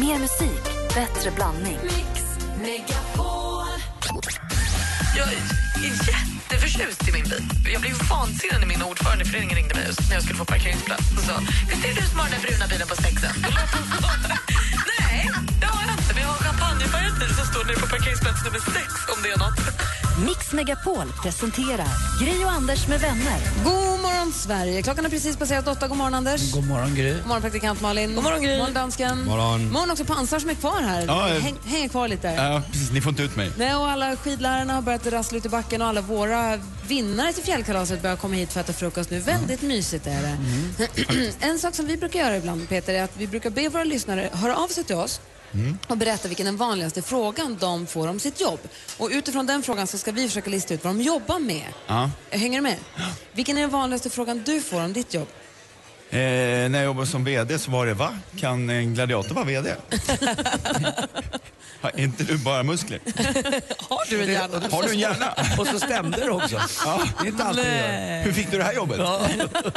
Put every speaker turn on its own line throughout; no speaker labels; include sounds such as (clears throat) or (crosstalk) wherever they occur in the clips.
Mer musik, bättre blandning.
Mix Megapol.
Jag är jätteförtjust i min bil. Jag blev vansinnig när min ordförande i föreningen ringde mig just när jag skulle få parkeringsplats och sa Visst är det du som har den där bruna bilen på sexen? Då lät hon så. (laughs) Nej, det har jag inte. Men jag har en champagnefärgad bil som står nere på parkeringsplats nummer sex om det är något.
Mix Megapol presenterar Gri och Anders med vänner.
God morgon, Sverige. Klockan har precis passerat åtta. God morgon, Anders.
God morgon, Gry.
God morgon, praktikant Malin. God morgon, Gry. God morgon, dansken. God
morgon.
morgon också pansar som är kvar här.
Ja, eh.
Häng, hänger kvar lite.
Ja, precis. Ni får inte ut mig.
Nej, och alla skidlärarna har börjat rassla ut i backen och alla våra vinnare till fjällkalaset börjar komma hit för att äta frukost nu. Väldigt mysigt är det. (clears throat) en sak som vi brukar göra ibland, Peter, är att vi brukar be våra lyssnare höra av sig till oss och berätta vilken den vanligaste frågan de får om sitt jobb. Och utifrån den frågan så ska vi försöka lista ut vad de jobbar med.
Ja.
Hänger du med? Vilken är den vanligaste frågan du får om ditt jobb?
Eh, när jag jobbade som VD så var det, va? Kan en gladiator
(laughs)
vara VD? Har inte du bara muskler?
Har du en hjärna?
Har du en hjärna?
(laughs) Och så stämde det också.
Ja.
Det är inte alltid det
Eh.
gör.
Hur fick du det här jobbet?
ja.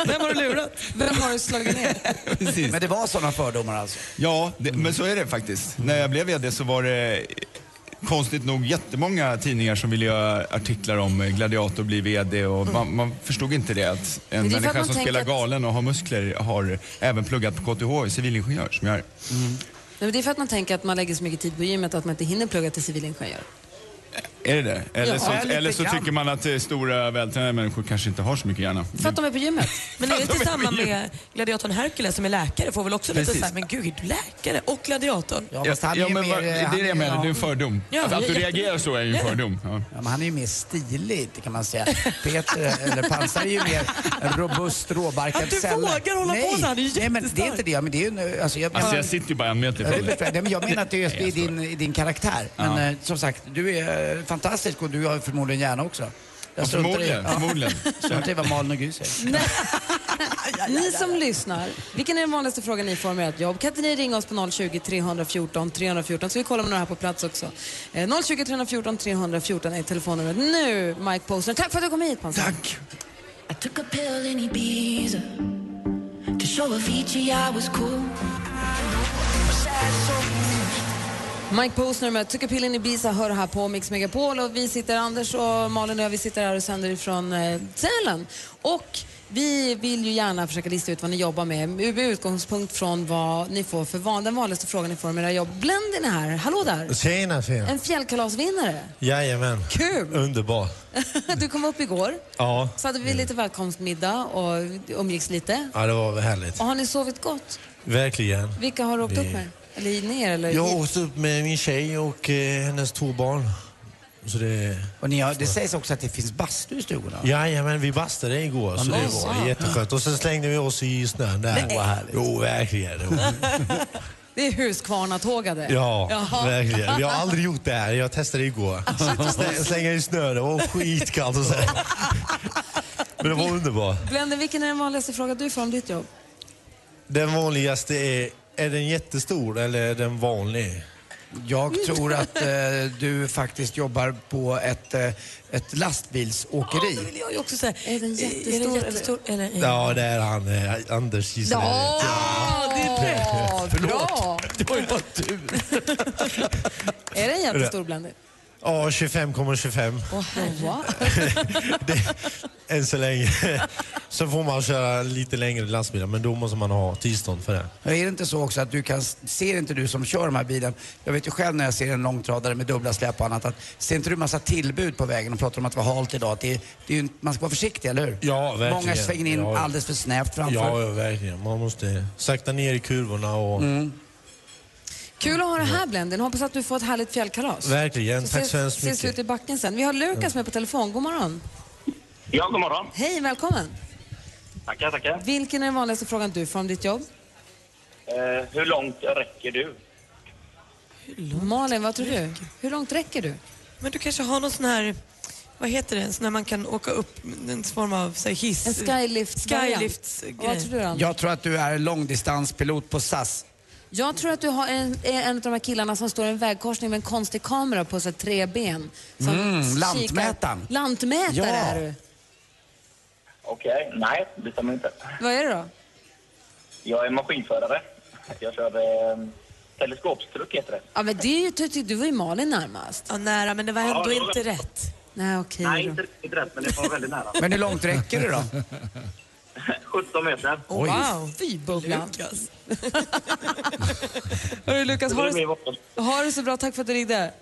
Vem (laughs) har du lurat? Vem har du slagit ner?
Precis.
Men det var sådana fördomar alltså.
Ja, det, men så är det faktiskt. När jag blev VD så var det eh, konstigt nog jättemånga tidningar som ville göra artiklar om eh, gladiator blir VD och man, man förstod inte det att en
Mm. det är för att
människa
man
som
tänker
spelar
att-
galen och har muskler har även pluggat på KTH i civilingenjör som jag är.
Nej, men det är för att man tänker att man lägger så mycket tid på gymmet att man inte hinner plugga till civilingenjör.
Är det det? Eller,
Ja,
så,
lite
eller så
grann.
tycker man att eh, stora vältränade människor kanske inte har så mycket hjärna.
För att de är på gymmet.
Men är det
Alltså,
inte
men
samma
vi-
med gladiatorn Herkules som är läkare? Får väl också lite
Precis.
såhär, men gud, är du läkare och gladiatorn?
Ja, fast han är ju
men
mer... eh,
vad- det
han
är det jag menar, det är en fördom.
Ja,
att, att du
jätte-
reagerar så är ju en fördom. Ja.
Ja, men han är ju mer stilig kan man säga. Peter, eller Pansar, är ju mer en robust råbarkad
Att du
sälle.
vågar hålla på
Nej,
så här, det är ju
Nej, men det är
jättestark.
inte det. Ja, Men det är ju, nu- alltså, jag,
Alltså
jag-
jag sitter ju bara en meter
Ja, det
från dig.
förstår jag. Nej, men jag menar att det är just
Nej,
i
jag
din, i din karaktär. Men
Ja.
eh, som sagt, du är eh, fantastisk och du har förmodligen hjärna också. Jag
Ja,
struntar i-
förmodligen,
ja,
förmodligen.
Struntar i vad Malin och Gry säger.
Ni som lyssnar, vilken är den vanligaste frågan ni får om ert jobb? Kan inte ni ringa oss på 020 314 314 så vi kollar med några här på plats också. Eh, 020 314 314 är telefonnumret. Nu, Mike Posner. Tack för att du kom hit, Pansar.
Tack!
I took a pill in Ibiza to show Avicii I was cool.
Mike Posner med Took a pill in Ibiza hör här på Mix Megapol och vi sitter, Anders och Malin och jag, vi sitter här och sänder ifrån eh, Sälen. Och vi vill ju gärna försöka lista ut vad ni jobbar med med utgångspunkt från vad ni får för van, den vanligaste frågan ni får om era jobb. Blendin är här, hallå där!
Tjena, tjena.
En fjällkalasvinnare.
Jajamän.
Kul!
Underbar.
(laughs) Du kom upp igår,
Ja.
så hade vi lite välkomstmiddag och umgicks lite.
ja, det var väl härligt.
Och har ni sovit gott?
Verkligen.
Vilka har du åkt upp med? Eller ner? Eller
Jag har
hit?
åkt upp med min tjej och eh, hennes två barn. Så det...
Och ni har, det sägs också att det finns bastu i stugorna.
Jajamän, vi bastade igår så det var jätteskönt. Och sen slängde vi oss i snön där.
Nej. Vad härligt.
Jo, verkligen. Det var-
Det är Huskvarna-tågade.
Ja,
Jaha.
verkligen. Vi har aldrig gjort det här. Jag testade igår. Släng- Slänga i snö, det var skitkallt och så. här. Men det var underbart.
Blende, vilken är den vanligaste frågan du får om ditt jobb?
Den vanligaste är, är den jättestor eller är den vanlig?
Jag tror att eh, du faktiskt jobbar på ett, eh, ett lastbilsåkeri.
Det vill jag ju också säga.
Är den jättestor
Är den
eller-
jättestor eller? är-
Ja, det är han. eh, Anders Gislaved.
Ja, det är
(laughs)
rätt! Bra!
Det var ju bara tur.
Är den jättestor, Blende?
Ja, 25,25
Åh, wow.
Det- än så länge. Sen får man köra lite längre lastbilar, men då måste man ha tillstånd för det.
Men Är det inte så också att du kan, ser inte du som kör de här bilen, jag vet ju själv när jag ser en långtradare med dubbla släp och annat, att ser inte du massa tillbud på vägen och pratar om att det var halt idag? Att det, är- det är ju, en- man ska vara försiktig, eller hur?
Ja, verkligen.
Många svänger in
Ja, ja.
alldeles för snävt framför.
Ja, ja, verkligen. Man måste sakta ner i kurvorna och...
Kul att ha det här, Blendin. Hoppas att du får ett härligt fjällkalas.
Verkligen.
Så
Tack
ses-
så hemskt
Ses vi
mycket.
ute i backen sen. Vi har Lukas med på telefon. God morgon.
Ja, god morgon.
Hej, välkommen.
Tackar, tackar.
Vilken är den vanligaste frågan du får om ditt jobb?
Eh, hur långt räcker du?
Malin, vad tror du? Hur långt räcker du?
Men du kanske har någon sån här, vad heter det, en sån här man kan åka upp, en form av så här, hiss?
En skylift
Skylift-grej.
Och Vad tror du, Anders?
Jag tror att du är långdistanspilot på SAS.
Jag tror att du har en, är en av de här killarna som står i en vägkorsning med en konstig kamera på sig tre ben. Som
Mm,
kikar-
lantmätaren.
Lantmätare
Ja.
är du.
Okej, nej, det stämmer inte.
Vad är du då?
Jag är maskinförare. Jag kör eh, Teleskopstruck heter det.
Ja, men det är ju, ty- ty- du var ju Malin närmast.
Ja, nära, men det var ändå inte rätt.
Nej, okej
Nej,
då.
inte riktigt rätt, men det var väldigt (laughs) nära.
Men hur långt
(laughs)
räcker det då?
17 meter.
Oj.
Wow.
Fy bubblan. Hörru Lukas, ha det, så- ha det så bra. Tack för att du ringde.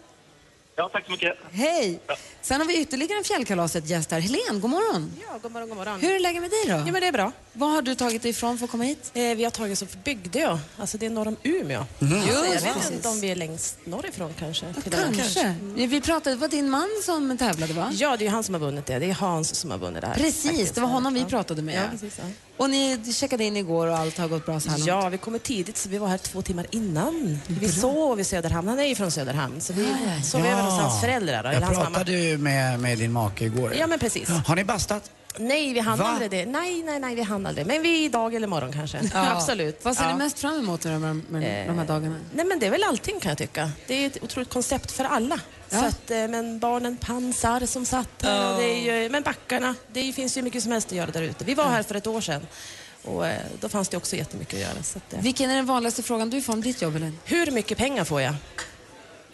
Ja, tack så mycket.
Hej! Sen har vi ytterligare en Fjällkalaset-gäst här. Helen, god morgon.
Ja, god morgon, god morgon.
Hur är läget med dig då?
Ja, men det är bra.
Vad har du tagit dig ifrån för att komma hit?
Eh, vi har tagit oss för Bygdeå. Alltså det är norr om Umeå.
Mm.
Just
Så jag vet
precis.
inte om vi är längst norrifrån kanske. till och med.
Kanske. Ja, Vi pratade, det var din man som tävlade va?
Ja, det är ju han som har vunnit det. Det är Hans som har vunnit det här.
Precis,
faktiskt.
det var honom vi
Ja.
pratade med.
Ja, precis, ja.
Och ni checkade in igår och allt har gått bra så här långt?
Ja, vi kommer tidigt så vi var här två timmar innan. Vi sov i Söderhamn. Han är ju från Söderhamn. Så vi sov över hos hans föräldrar. Då, eller
Jag
hans mamma.
pratade ju med, med din make igår.
Ja, men precis.
Har ni bastat?
Nej, vi hann
Va?
aldrig det. Nej, nej, nej, vi hann aldrig. Men vi idag eller imorgon kanske. (laughs)
Ja.
Absolut.
Vad ser
Ja.
du mest fram emot med, de- med de här dagarna?
Nej men det är väl allting kan jag tycka. Det är ett otroligt koncept för alla.
Ja.
Så att, eh, men barnen pansar som satt här och det är ju, men backarna, det är- finns ju mycket som helst att göra där ute. Vi var här för ett år sedan och eh, då fanns det också jättemycket att göra. Så att, eh,
Vilken är den vanligaste frågan du får om ditt jobb, Elin?
hur mycket pengar får jag?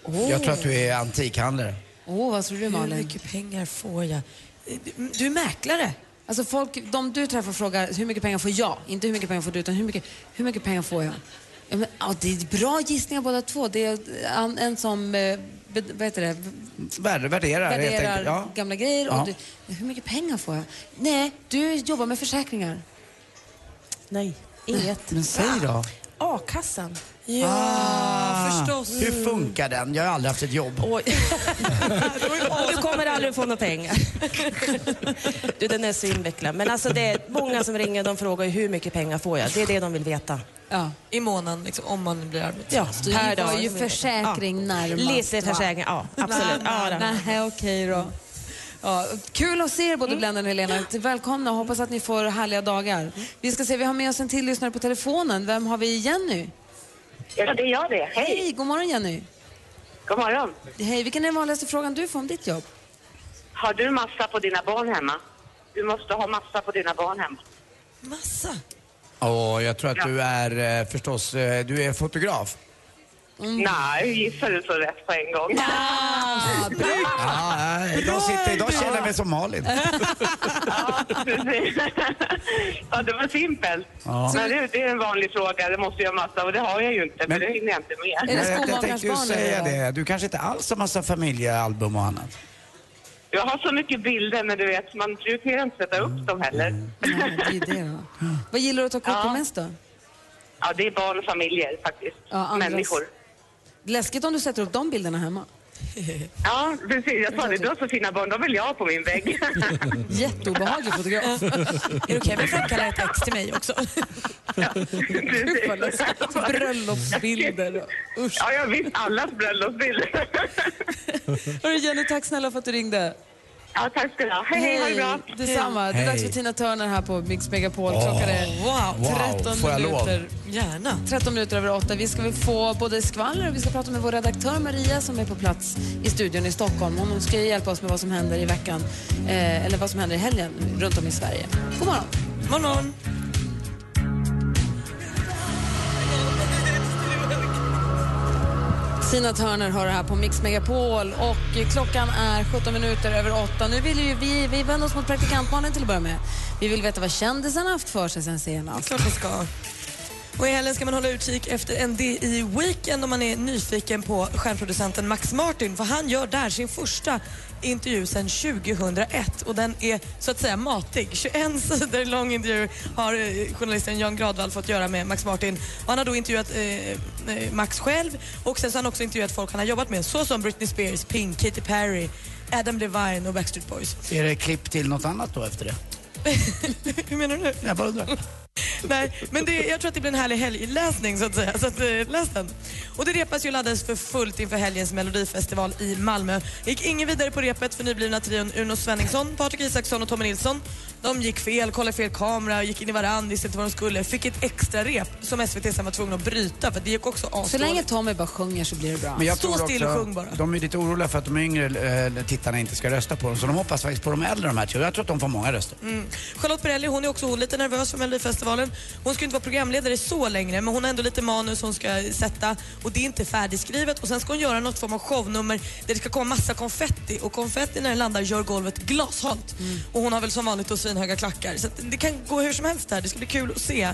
Oh.
Jag tror att du är antikhandlare.
Åh, vad tror du,
Hur
Malin?
mycket pengar får jag? Eh, du- Du är mäklare.
Alltså folk, de du träffar frågar hur mycket pengar får jag? Inte hur mycket pengar får du, utan hur mycket, hur mycket pengar får jag? Ja, men, ja, det är bra gissningar båda två. Det är en, en som eh, be, vad heter det,
Värderar, värderar helt
värderar
enkelt. Ja.
gamla grejer. Och
Ja.
du, hur mycket pengar får jag? Nej, du jobbar med försäkringar.
Nej, inget.
Men säg då. Ah.
A-kassan.
Ja, Ah,
(laughs)
förstås.
Hur funkar den? Jag har aldrig haft ett jobb.
Oj. du kommer aldrig få några pengar. du, den är så invecklad. Men alltså det är många som ringer och de frågar hur mycket pengar får jag? Det är det de vill veta.
Ja.
I månaden, liksom, om man blir arbetslös.
Ja,
alltså, Du
per
var
dag.
ju försäkring närmast.
Lite
va?
försäkring, ja. Absolut. Ja, då.
Nej, okej då. Ja, kul att se er
Mm.
både Blenda och Helena. Välkomna och hoppas att ni får härliga dagar. Vi ska se, vi har med oss en till lyssnare på telefonen. Vem har vi? Jenny?
Ja, det är jag det. Hej,
Hej, god morgon Jenny.
god morgon.
Hej, vilken är den vanligaste frågan du får om ditt jobb?
Har du massa på dina barn hemma? Du måste ha massa på dina barn hemma.
Massa.
Åh, jag tror att du är eh, förstås, eh, du är fotograf.
Mm.
Nej, gissar du så rätt på en
(laughs)
gång. (laughs)
Ah,
Ja,
Ah,
nej, idag, sitter, idag känner jag mig som Malin.
Ja, precis. ja, det var simpelt.
Ja.
Men du, det är en vanlig fråga. Det måste jag ha massa och det har jag ju inte,
Men-
för det hinner jag inte med.
det
Jag, jag, jag tänkte ju
småbarnsbarn
säga
eller?
det. Du kanske inte alls har massa familjealbum och annat.
Jag har så mycket bilder, men du vet, man prioriterar inte att sätta upp dem heller.
Nej, det är det då. Vad gillar du att ta kort på
Ja.
mest då?
(laughs) Ja, det är barn och familjer faktiskt.
Ja, andras.
Människor.
Läskigt om du sätter upp de bilderna hemma.
Ja, precis. Jag sa det. Du har så fina barn, de vill jag ha på min
(laughs)
vägg.
Jätteobehaglig fotograf.
Mm. (laughs) Är det okej om jag får kalla ett ex till mig också?
Precis.
Vad läskigt. Bröllopsbilder. och- Usch.
Ja, jag visst. Allas
(laughs)
bröllopsbilder.
Hörru Jenny, tack snälla för att du ringde.
ja, tack ska du ha. Hej, hej, ha det bra.
Detsamma. Det är dags för
Hej.
Tina Turner här på Mix Megapol. Klockan är
Wow.
13
får jag lov?
minuter.
Gärna.
13 minuter över åtta. Vi ska väl få både skvaller och vi ska prata med vår redaktör Maria som är på plats i studion i Stockholm. Hon ska ju hjälpa oss med vad som händer i veckan, eh, eller vad som händer i helgen runt om i Sverige. God morgon.
Morgon.
Tina Turner har det här på Mix Megapol och klockan är 17 minuter över 8. Nu vill ju vi, vi vänder oss mot praktikantmannen till att börja med. Vi vill veta vad kändisen haft för sig sen senast.
Klart man ska. Och i helgen ska man hålla utkik efter en DI Weekend om man är nyfiken på stjärnproducenten Max Martin för han gör där sin första intervju sedan 2001 och den är så att säga matig. 21 (laughs) sidor lång intervju har eh, journalisten Jan Gradvall fått göra med Max Martin. Och han har då intervjuat eh, eh, Max själv och sen så har han också intervjuat folk han har jobbat med såsom Britney Spears, Pink, Katy Perry, Adam Levine och Backstreet Boys. (laughs)
Är det klipp till något annat då efter det?
Hur menar du?
Jag bara undrar.
Ah, Nej, men det, jag tror att det blir en härlig helgläsning så att säga. Så att, eh, läs den. Och det repas ju och laddades för fullt inför helgens melodifestival i Malmö. Gick ingen vidare på repet för nyblivna trion Uno Svenningsson, Patrik Isaksson och Tommy Nilsson. De gick fel, kollade fel kamera, gick in i varann, visste inte vad de skulle. Fick ett extra rep som SVT sen var tvungna att bryta för det gick också asdåligt.
Så länge Tommy bara sjunger så blir det bra.
Men jag
Stå
tror
still
också-
och sjung bara.
De är lite oroliga för att de yngre eh, tittarna inte ska rösta på dem. Så de hoppas faktiskt på de äldre de här tre. Och Jag tror att de får många röster.
Mm. Charlotte Perrelli, hon är också hon lite nervös för Melodifestivalen. Hon ska ju inte vara programledare så längre men hon har ändå lite manus hon ska sätta och det är inte färdigskrivet. Och sen ska hon göra något form av shownummer där det ska komma massa konfetti och konfetti när den landar gör golvet glashalt. Och hon har väl som vanligt då svinhöga klackar. Så att det kan gå hur som helst där. Det ska bli kul att se.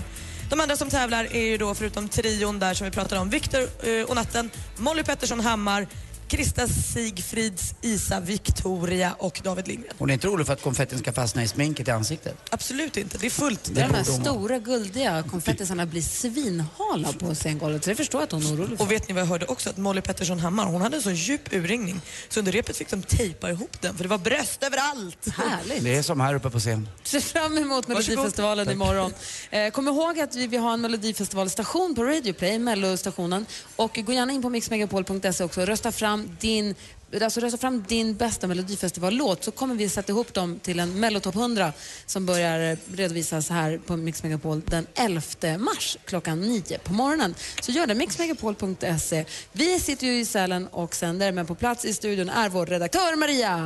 De andra som tävlar är ju då förutom trion där som vi pratade om, Viktor eh, och natten, Molly Pettersson Hammar, Krista Sigfrids Isa Victoria och David Lindgren.
Hon är inte orolig för att konfettin ska fastna i sminket i ansiktet?
Absolut inte, det är fullt.
Där de här stora guldiga konfettisarna blir svinhala på scengolvet. Så jag förstår att hon är orolig.
Och vet ni vad jag hörde också? Att Molly Pettersson Hammar, hon hade en så djup urringning så under repet fick de tejpa ihop den för det var bröst överallt.
Härligt.
Det är som här uppe på scen.
ser fram emot Melodifestivalen
Tack.
imorgon. Eh, kom ihåg att vi, vi har en Melodifestivalstation på Radioplay, Mellostationen. Och gå gärna in på mixmegapol.se också och rösta fram din Alltså rösta fram din bästa Melodifestivallåt så kommer vi sätta ihop dem till en Mellotopp 100 som börjar redovisas här på Mix Megapol den 11 mars klockan 9 på morgonen. Så gör det, mixmegapol.se. Vi sitter ju i Sälen och sänder men på plats i studion är vår redaktör Maria.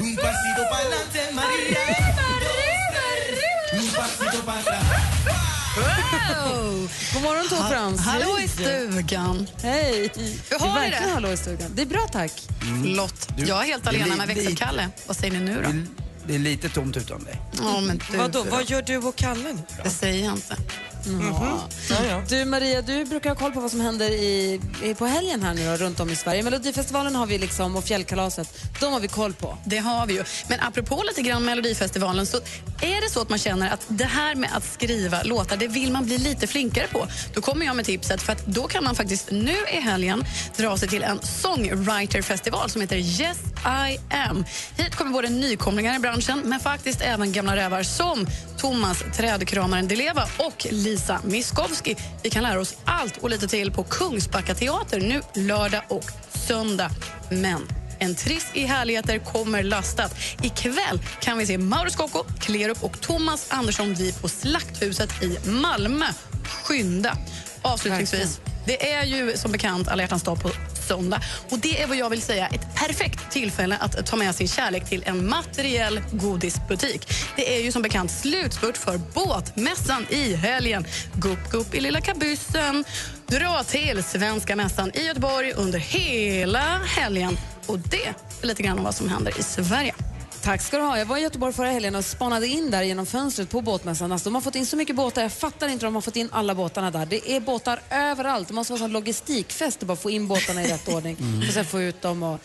Un pasito pa'lante, María. Un pasito pa'lante.
Wow! God morgon Tor
Ha-
Frans.
hallå i stugan.
Hej.
Hur har
det?
ni
är verkligen
det?
hallå i stugan. Det är bra tack.
Lott, jag är helt alena med växelkalle. Vad säger ni nu då?
Det är lite tomt utan dig.
Ja, men du.
Mm. Vadå, vad
gör du och Kalle nu?
Det säger jag inte.
Du Maria, du brukar ha koll på vad som händer i, i, på helgen här nu då, runt om i Sverige. Melodifestivalen har vi liksom och fjällkalaset, de har vi koll på.
Det har vi ju. Men apropå lite grann Melodifestivalen så är det så att man känner att det här med att skriva låtar, det vill man bli lite flinkare på. Då kommer jag med tipset för att då kan man faktiskt nu i helgen dra sig till en songwriterfestival som heter Yes I am. Hit kommer både nykomlingar i branschen men faktiskt även gamla rävar som Thomas Trädkramaren Dileva och Lisa Miskovsky. Vi kan lära oss allt och lite till på Kungsbacka teater nu lördag och söndag. Men en triss i härligheter kommer lastat. Ikväll kan vi se Mauro Scocco, Klerup och Thomas Andersson Vi på Slakthuset i Malmö. Skynda! Avslutningsvis, det är ju som bekant alla hjärtans dag på söndag. Och Det är vad jag vill säga ett perfekt tillfälle att ta med sin kärlek till en materiell godisbutik. Det är ju som bekant slutspurt för båtmässan i helgen. Gupp, gupp i lilla kabyssen. Dra till Svenska mässan i Göteborg under hela helgen. Och det är lite grann om vad som händer i Sverige.
Tack ska du ha. Jag var i Göteborg förra helgen och spanade in där genom fönstret på båtmässan. Alltså, de har fått in så mycket båtar, jag fattar inte hur de har fått in alla båtarna där. Det är båtar överallt. Det måste vara en logistikfest att bara få in båtarna
(laughs)
i rätt ordning
Mm.
och sen få ut dem. Och...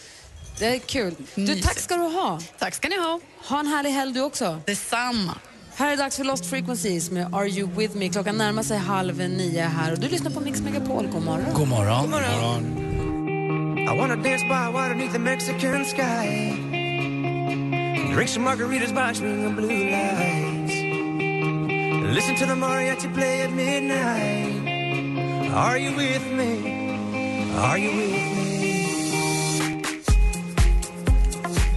Det är kul. Du, tack ska du ha.
Tack ska ni ha.
Ha en härlig helg du också.
Detsamma.
Här är dags för Lost Frequencies med Are You With Me. Klockan närmar sig halv nio här och du lyssnar på Mix Megapol. God morgon.
God morgon.
God morgon.
I wanna dance by water beneath the Mexican sky. Drink some margaritas by string of blue lights. Listen to the mariachi play at midnight. Are you with me? Are you with me?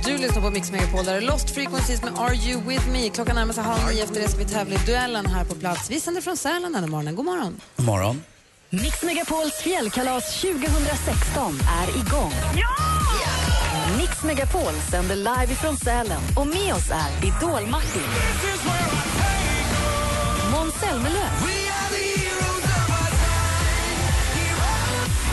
Du lyssnar på Mix Megapol, där det är Lost Frequencies med Are You With Me. Klockan närmar sig halv nio, efter det ska vi tävla i duellen här på plats. Vi sänder från Sälen den här morgonen. God morgon.
God morgon.
Mix Megapols fjällkalas 2016 är igång. Mix Megapol sänder live ifrån Sälen och med oss är Idol-Martin. Måns Zelmerlöw.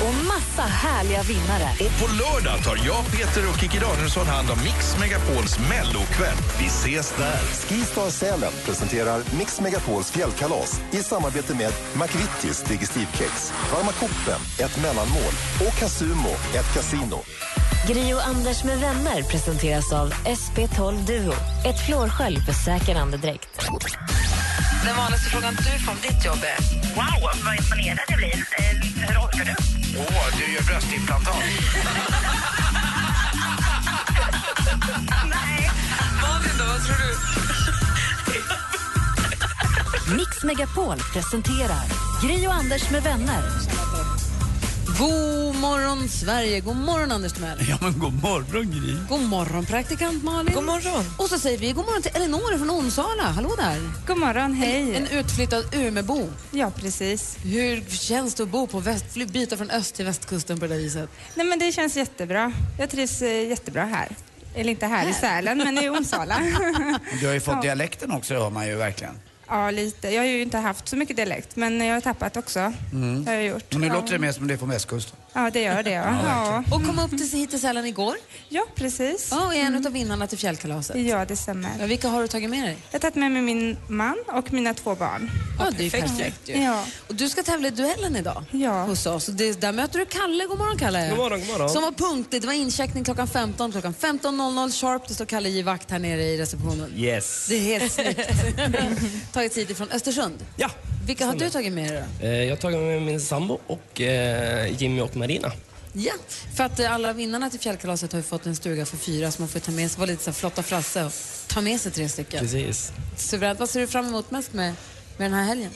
Och massa härliga vinnare.
Och på lördag tar jag, Peter och Kikki Danielsson hand om Mix Megapols mellokväll. Vi ses där!
Skistar Sälen presenterar Mix Megapols fjällkalas i samarbete med McVittys Digestivkex, Varma koppen, ett mellanmål och Casumo, ett kasino.
Gri och Anders med vänner presenteras av SP12 Duo. Ett flårskölj för säker andedräkt.
Den vanligaste frågan du får om ditt jobb är? Wow, vad imponerad jag blir. Eh, Hur orkar du?
Åh, du gör bröstimplantat.
Nej. Malin då, vad tror du?
Mix Megapol presenterar Gri och Anders med vänner.
God morgon, Sverige. God morgon, Anders Timell.
Ja, men god morgon, Gry.
God morgon, praktikant Malin. God morgon. Och så säger vi god morgon till Elinor från Onsala. Hallå där.
God morgon, hej.
En utflyttad Umebo.
Ja, precis.
Hur känns det att bo på väst, byta från öst till västkusten på det där viset?
Nej, men det känns jättebra. Jag trivs eh, jättebra här. Eller inte här i Sälen, men i Onsala.
(laughs)
(laughs)
Du har ju fått
Ja.
dialekten också, det hör man ju verkligen.
Ja, lite. Jag har ju inte haft så mycket dialekt, men jag har tappat också.
Mm.
Det har jag gjort.
Men nu
ja.
låter det mer som det är på västkusten.
Ja, det gör det. Ja. Ja.
Och kom upp till hit till Sälen igår.
Ja, precis.
Ja, och är en utav vinnarna till fjällkalaset.
Ja, det stämmer.
Ja, vilka har du tagit med dig?
Jag har tagit med mig min man och mina två barn.
Ja, det är ju perfekt ju.
Ja.
Och du ska tävla i duellen idag ja. hos oss. Och det, där möter du Kalle. God morgon Kalle.
God morgon, god morgon.
Som var punktlig. Det var incheckning klockan 15. Klockan 15.00 sharp. Det står Kalle J vakt här nere i receptionen.
Yes.
Det är helt (laughs) snyggt. tagit hit ifrån Östersund.
Ja.
Vilka har du tagit med dig då?
Eh, Jag har tagit med min sambo och eh, Jimmy och Marina.
Ja, för att eh, alla vinnarna till fjällkalaset har ju fått en stuga för fyra så man får ta med sig, vara lite så här flotta Frasse och ta med sig tre stycken.
Precis.
Suveränt. Vad ser du fram emot mest med, med den här helgen?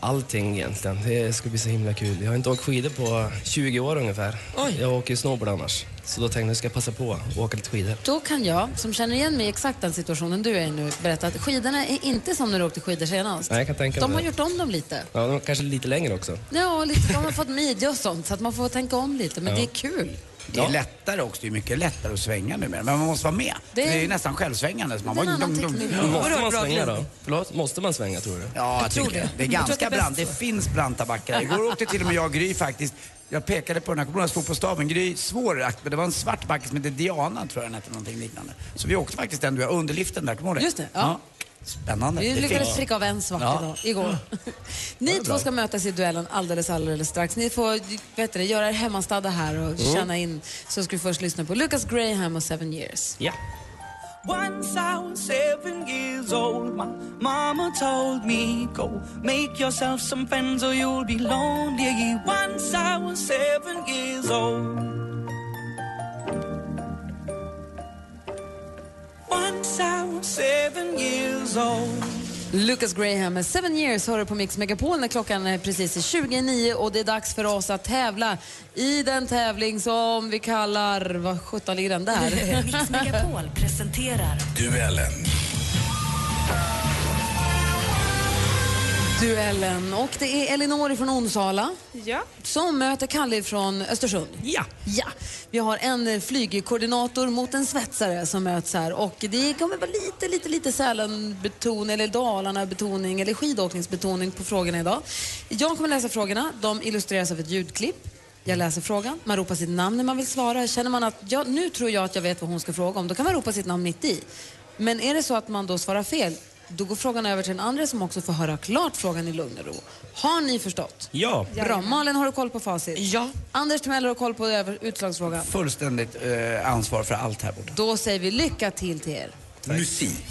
Allting egentligen. Det ska bli så himla kul. Jag har inte åkt skidor på 20 år ungefär. Jag åker ju snowboard annars. Så då tänkte jag att jag ska passa på och åka lite skidor.
Då kan jag, som känner igen mig i exakt den situationen du är i nu, berätta att skidorna är inte som när du åkte skidor senast.
Nej, jag kan tänka
De
mig
har
det.
gjort om dem lite.
Ja, de var kanske lite längre också.
Ja, och lite, de har fått midja och sånt så att man får tänka om lite, men
Ja.
det är kul.
Det är lättare också, det är mycket lättare att svänga numera. Men man måste vara med.
Det
Det
är-
är, ju nästan självsvängande. Så man
Det är
bara
en annan teknik. Ja.
Måste man
Oerhört bra
svänga
glid.
då? Förlåt? Måste man svänga tror du?
Ja, jag tycker det. Det är ganska
Jag tror att det är
brant. Det
bäst.
finns branta backar. Igår åkte till och med jag och Gry faktiskt. Jag pekade på den här, kommer du ihåg när jag stod på staven? Gry, svår akt, men det var en svart backe som hette Diana, tror jag den hette, någonting liknande. Så vi åkte faktiskt den du har underliften där, kommer du ihåg det?
Just det, ja.
Spännande.
Vi
Det
lyckades
finns.
pricka av en svart
Ja.
idag, igår. (laughs) Ni två ska mötas i duellen alldeles, alldeles strax. Ni får vet du, göra er hemmastadda här och
Mm.
känna in. Så ska vi först lyssna på Lucas Graham och Seven Years.
Ja.
Once I was seven years old, my mama told me, Go make yourself some friends or you'll be lonely. Once I was seven years old. Once I was seven years old.
Lucas Graham med Seven Years hör du på Mix Megapol när klockan är precis är 29 och det är dags för oss att tävla i den tävling som vi kallar... Vad sjutton ligger
(laughs)
den där?
Mix Megapol presenterar
Duellen.
Duellen. Och det är Elinor från Onsala
Ja.
som möter Kalle från Östersund.
Ja.
ja. Vi har en eh, flygkoordinator mot en svetsare som möts här och det kommer vara lite, lite, lite Sälenbeton eller Dalarna-betoning eller skidåkningsbetoning på frågorna idag. Jag kommer läsa frågorna. De illustreras av ett ljudklipp. Jag läser frågan, man ropar sitt namn när man vill svara. Känner man att ja, nu tror jag att jag vet vad hon ska fråga om, då kan man ropa sitt namn mitt i. Men är det så att man då svarar fel, då går frågan över till en andra som också får höra klart frågan i lugn och ro. Har ni förstått?
Ja.
Bra. Malin, har du koll på facit? Ja. Anders Timell, har du koll på över- utslagsfrågan?
Fullständigt eh, ansvar för allt här borta.
Då säger vi lycka till till er.
Musik.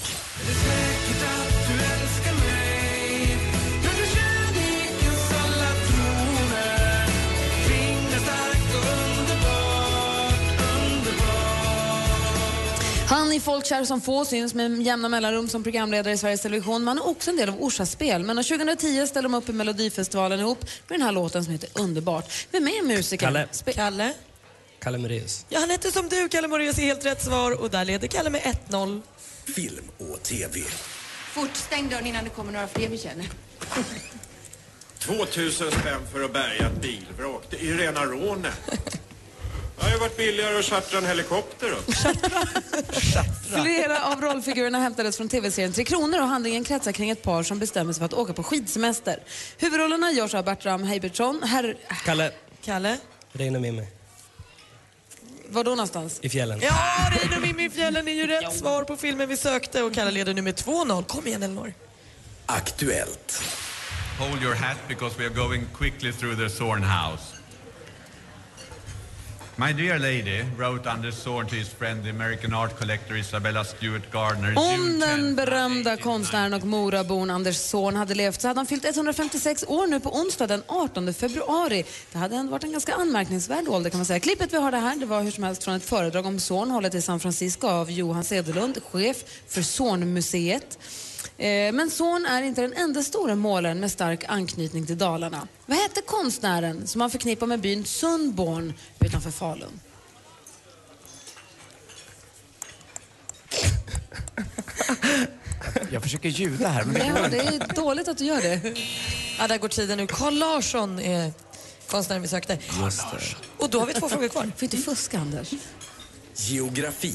Han är folkkär som få, syns med jämna mellanrum som programledare i Sveriges Television. Man är också en del av Orsas spel. Men år 2010 ställde de upp i Melodifestivalen ihop med den här låten som heter Underbart. Vem är musikern?
Kalle.
Kalle.
Kalle Moraeus.
Ja, han heter som du, Kalle Moraeus, är helt rätt svar och där leder Kalle med 1-0.
Film och TV.
Fort, stäng dörren innan det kommer några fler vi känner.
2000 spänn för att bärga ett bilvrak. Det är ju rena rånet. Det har ju varit billigare att chartra en helikopter upp.
Flera av rollfigurerna hämtades från tv-serien Tre Kronor och handlingen kretsar kring ett par som bestämmer sig för att åka på skidsemester. Huvudrollerna görs av Bertram Heibertsson. Herr...
Kalle.
Kalle?
Reine Mimmi.
Var då någonstans?
I fjällen.
Ja, Reino Mimmi i fjällen är ju rätt svar på filmen vi sökte och Kalle leder nu med 2-0. Kom igen Elinor.
Aktuellt.
Hold your hat because we are going quickly through the Zorn house. My dear lady, wrote Anders Zorn to his friend the American art collector Isabella Stewart Gardner.
Om den berömda konstnären och moraborn Anders Zorn hade levt så hade han fyllt 156 år nu på onsdag den 18 februari. Det hade ändå varit en ganska anmärkningsvärd ålder kan man säga. Klippet vi har det här det var hur som helst från ett föredrag om Zorn hållet i San Francisco av Johan Cederlund, chef för Zornmuseet. Eh, Men Zorn är inte den enda stora målaren med stark anknytning till Dalarna. Vad hette konstnären som man förknippar med byn Sundborn utanför Falun?
Jag försöker ljuda här, men det går
Ja, det
inte.
är dåligt att du gör det.
Ja, där går tiden nu. Carl Larsson är konstnären vi sökte.
Just det.
Och då har vi två frågor kvar.
Får inte fuska, Anders.
Geografi.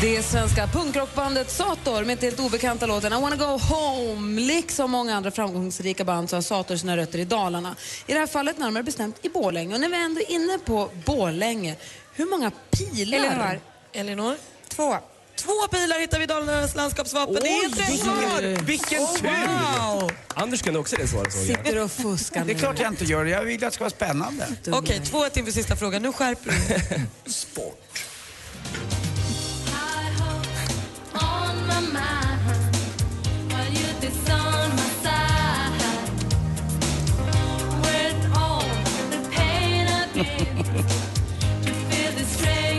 Det svenska punkrockbandet Sator med den obekanta låten I wanna go home. Liksom många andra framgångsrika band så har Sator sina rötter i Dalarna. I det här fallet närmare bestämt i Borlänge. Och när vi ändå är inne på Borlänge, hur många pilar?
Eleanor. Elinor?
Två.
Två pilar hittar vi i Dalarnas landskapsvapen. Det är ett rätt svar! Oh, Wow.
Anders kunde också det svaret såg
Sitter och fuskar
Det är
nu.
klart jag inte gör det. Jag vill att det ska vara spännande.
Okej, 2-1 inför sista frågan. Nu skärper du dig.
Sport.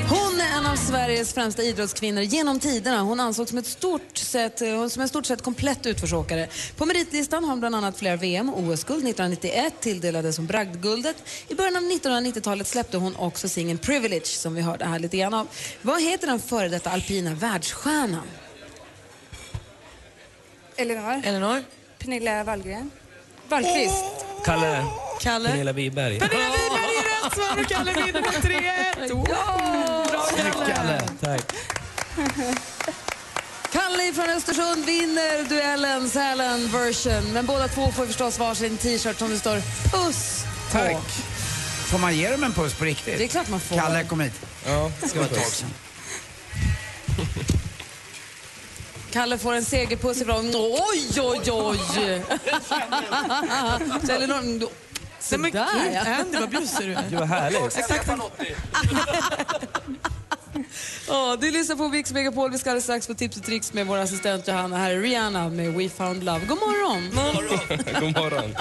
Hon är en av Sveriges främsta idrottskvinnor genom tiderna. Hon ansågs som, ett stort sett, eh, som en stort sett komplett utförsåkare. På meritlistan har hon bland annat flera VM och OS-guld. 1991 tilldelades hon bragdguldet. I början av 1990-talet släppte hon också singeln Privilege som vi hörde här lite grann av. Vad heter den före detta alpina världsstjärnan?
Elinor.
Elinor.
Pernilla Wallgren. Wallqvist.
Kalle.
Kalle.
Pernilla Wiberg.
Rätt svar och Kalle vinner med 3-1. Ja! Bra Kalle!
Tack.
Kalle från Östersund vinner duellen Sälen version. Men båda två får förstås varsin t-shirt som det står Puss på.
Tack. Får man ge dem en puss på riktigt?
Det är klart man får.
Kalle, kom hit.
Ja,
det var ett tag sedan.
Kalle får en segerpuss ifrån... Oj, oj,
(laughs)
oj! Kjell Norm...
Nej, men gud, Andy, vad bjussig du är.
Gud, vad härligt.
Exakt.
(laughs) Ja, du lyssnar på Mix Megapol. Vi ska alldeles strax få tips och tricks med vår assistent Johanna. Här är Rihanna med We found love. God morgon!
God morgon.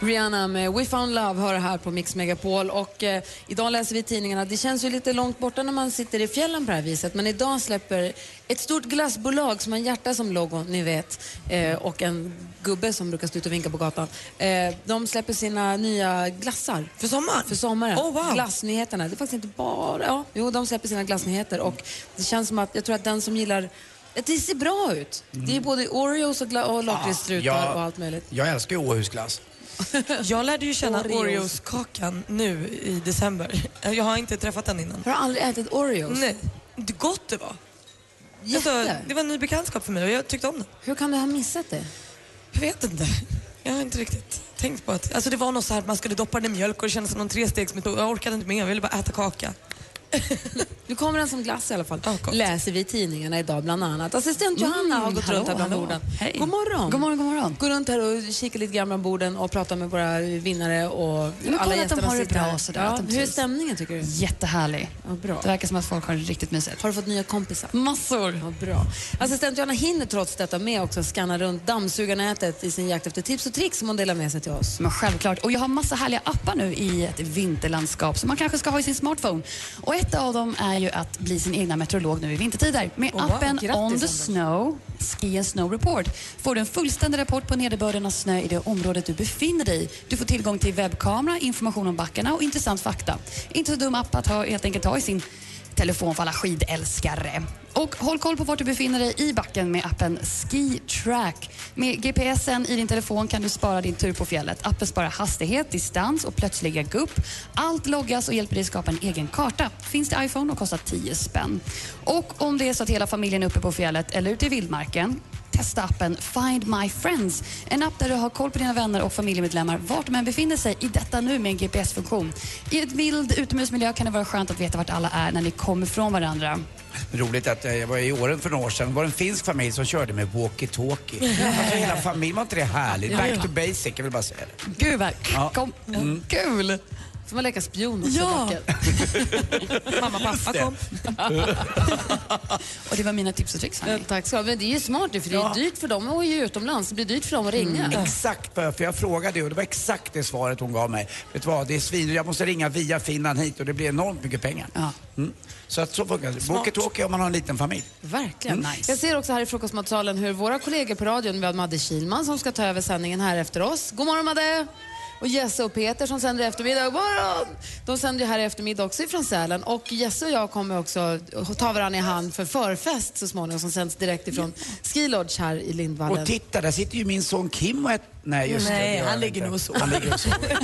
Rihanna med We found love hör här på Mix Megapol. Och, eh, idag läser vi i tidningarna. Det känns ju lite långt borta när man sitter i fjällen på det här viset. Men idag släpper ett stort glassbolag som har en hjärta som logo, ni vet, eh, och en gubbe som brukar stå ute och vinka på gatan. Eh, de släpper sina nya glassar.
För sommaren?
För sommaren.
Oh, wow.
Glassnyheterna. Det är faktiskt inte bara... Ja, jo, de släpper sina glassnyheter. Och det känns som att, jag tror att den som gillar... Det ser bra ut. Det är både Oreos och, gla- och lakritsstrutar
Ja,
och allt möjligt.
Jag älskar ju Åhusglass.
Jag lärde ju känna
Oreos.
Oreos-kakan nu i december. Jag har inte träffat den innan.
Har du aldrig ätit Oreos?
Nej. Det gott det var. Alltså,
Jätte.
det var en ny bekantskap för mig och jag tyckte om den.
Hur kan du ha missat det?
Jag vet inte. Jag har inte riktigt tänkt på att... Alltså det var något så här att man skulle doppa den i mjölk och det kändes som någon trestegsmetod. Jag orkade inte med, jag ville bara äta kaka.
Nu kommer den som glass i alla fall. Läser vi i tidningarna idag bland annat. Assistent Johanna har gått
hallå,
runt här bland
hallå.
borden.
Hej.
God morgon.
God morgon,
Går runt här och kikar lite grann bland borden och pratar med våra vinnare och
men
alla
kolla att de
gästerna
har det
sitter
bra
här.
och sådär,
Ja,
att de
hur är
trivs.
stämningen tycker du?
Jättehärlig.
Ja, bra.
Det verkar som att folk har det riktigt mysigt.
Har du fått nya kompisar?
Massor.
Ja, bra. Assistent Johanna hinner trots detta med också att scanna runt dammsugarnätet i sin jakt efter tips och tricks som hon delar med sig till oss.
Men självklart. Och jag har massa härliga appar nu i ett vinterlandskap som man kanske ska ha i sin smartphone. Och ett av dem är ju att bli sin egna meteorolog nu i vintertider. Med
Oh, wow.
appen
Grattis,
On the
Anders.
Snow, Ski and Snow Report, får du en fullständig rapport på nederbörden av snö i det området du befinner dig i. Du får tillgång till webbkamera, information om backarna och intressant fakta. Inte så dum app att ha, helt enkelt ha i sin telefon för alla skidälskare. Och håll koll på vart du befinner dig i backen med appen Ski Track. Med GPSen i din telefon kan du spara din tur på fjället. Appen sparar hastighet, distans och plötsliga gupp. Allt loggas och hjälper dig skapa en egen karta. Finns till iPhone och kostar 10 spänn. Och om det är så att hela familjen är uppe på fjället eller ute i vildmarken Testa appen Find My Friends. En app där du har koll på dina vänner och familjemedlemmar vart de än befinner sig i detta nu med en GPS-funktion. I ett vild utomhusmiljö kan det vara skönt att veta vart alla är när ni kommer från varandra.
Roligt att eh, jag var i åren för några år sedan. Det var en finsk familj som körde med walkie-talkie. Alltså hela familjen, var inte det härligt?
Ja, ja.
Back to basic, jag vill bara säga det.
Gud vad
Ja.
kom.
Mm.
kul!
Får man leka spion också?
Ja.
backen?
Mamma, pappa kom.
och det var mina tips och tricks. hörni.
Ja, tack ska du ha. Men det är ju smart ju, för det är
Ja.
dyrt för dem att åka utomlands. Det blir dyrt för dem att ringa.
Mm, Exakt vad jag- för jag frågade och det var exakt det svaret hon gav mig. Vet du vad, det är svin, jag måste ringa via Finland hit och det blir enormt mycket pengar. Mm. Så att så funkar det.
Smart.
Walkie-talkie om man har en liten familj.
Verkligen.
Mm.
Jag ser också här i frukostmatsalen hur våra kollegor på radion, vi har Madde Kilman som ska ta över sändningen här efter oss. God morgon Madde! och Jesse och Peter som sänder i eftermiddag. God morgon! De sänder ju här i eftermiddag också ifrån Sälen. Och Jesse och jag kommer också ta varandra i hand för förfest så småningom som sänds direkt ifrån Ski Lodge här i Lindvallen.
Och titta, där sitter ju min son Kim och ett... Nej, just det, det.
Nej,
gör
han ligger
inte.
nog och sover.
Han ligger och sover.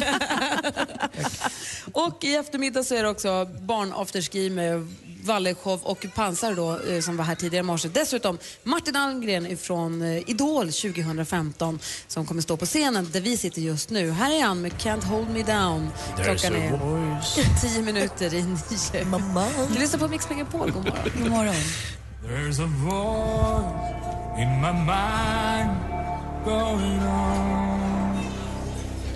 Och i eftermiddag så är det också barn-afterski med Valleshow och Pansar då, eh, som var här tidigare i morse. Dessutom Martin Almgren från Idol 2015 som kommer stå på scenen där vi sitter just nu. Här är han med Can't Hold Me Down.
There's
Klockan
a
är tio minuter i nio. Mamma. Du lyssnar på Mix Megapol. God morgon. God morgon.
There's a voice in my mind going on.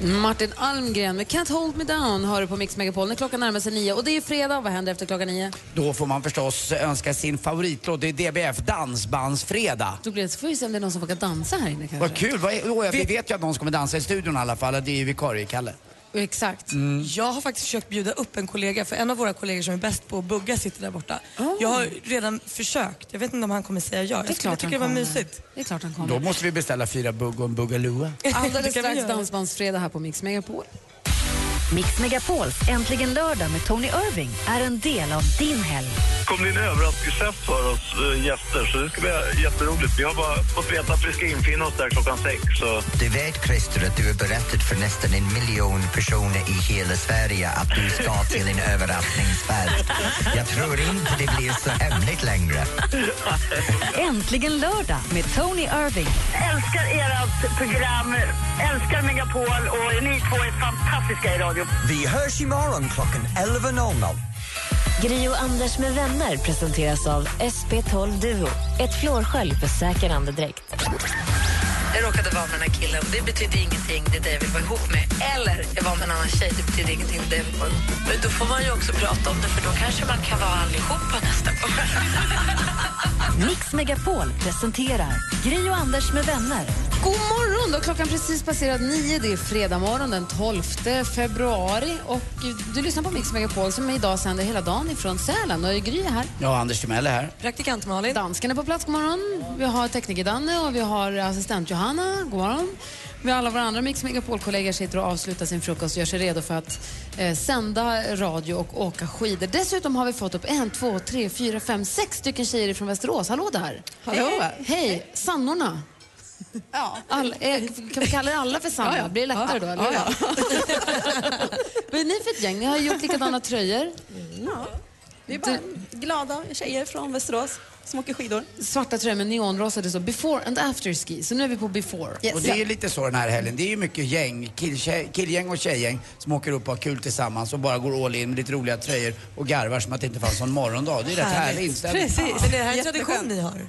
Martin Almgren med Can't Hold Me Down hör du på Mix Megapol. När klockan närmar sig nio och det är fredag. Vad händer efter klockan nio?
Då får man förstås önska sin favoritlåt. Det är DBF, Dansbandsfredag.
Då blir det, så får vi se om det är någon som vågar dansa här inne kanske.
Vad kul! Vad är, åh, vi vet ju att någon ska dansa i studion i alla fall. Det är ju vikarie-Kalle.
Exakt.
Mm. Jag har faktiskt försökt bjuda upp en kollega, för en av våra kollegor som är bäst på att bugga sitter där borta. Jag har redan försökt. Jag vet inte om han kommer säga ja.
Oh. Det är
Jag, skulle,
klart
jag tycker det
han
var
kommer.
mysigt.
Det är klart han kommer.
Då måste vi beställa fyra bugg och en buggaloo.
(laughs) Alldeles
(laughs) Det kan vi
strax
göra.
Dansbandsfredag här på Mix Megapol.
Mix Megapols Äntligen lördag med Tony Irving är en del av din helg.
kom det en överraskningsträff för oss eh, gäster, så det ska bli jätteroligt. Vi har bara fått veta att vi ska infinna oss där klockan sex. Så.
Du vet, Christer, att du har berättat för nästan en miljon personer i hela Sverige att du ska till en överraskningsfest. Jag tror inte det blir så hemligt längre.
Äntligen lördag med Tony Irving.
Älskar ert program, älskar Megapol och ni två är fantastiska i radio.
Vi hörs imorgon klockan 11.00.
Gri och Anders med vänner presenteras av SP12 Duo. Ett flårskölj för säker andedräkt.
Jag råkade vara med den här killen. Det betydde ingenting, det är det jag vill vara ihop med. Eller jag var med en annan tjej, det betyder ingenting, det är det jag vill vara ihop med. Men då får man ju också prata om det, för då kanske man kan vara allihopa nästa gång.
(laughs) Mix Megapol presenterar Gri och Anders med vänner.
God morgon! Då har klockan precis passerat nio. Det är fredag morgon den 12 februari. Och du lyssnar på Mix Megapol som idag sänder hela dagen ifrån Sälen. Och Gry är här.
Ja, Anders Timell är här.
Praktikant Malin. Dansken är på plats. God morgon. Vi har tekniker Danne och vi har assistent Johanna. God morgon. Vi har alla våra andra Mix Megapol-kollegor sitter och avslutar sin frukost och gör sig redo för att eh, sända radio och åka skidor. Dessutom har vi fått upp en, två, tre, fyra, fem, sex stycken tjejer från Västerås. Hallå där!
Hallå.
Hej! Hej. Sannorna! Ja. All, eh, kan vi kalla er alla för Sanna?
Ja, ja.
Blir det lättare då?
Ja,
Eller?
ja.
(laughs) Vad är ni för ett gäng? Ni har gjort likadana tröjor.
Ja. Vi är bara glada tjejer från Västerås som åker skidor.
Svarta tröjor med neonrosa. Det står before and after ski. Så nu är vi på before.
Och det är ju lite så den här helgen. Det är ju mycket gäng, kill, tjej, killgäng och tjejgäng som åker upp och har kul tillsammans och bara går all in med lite roliga tröjor och garvar som att det inte fanns någon morgondag. Det är rätt härlig inställning.
Precis.
Men är det här en tradition ni har?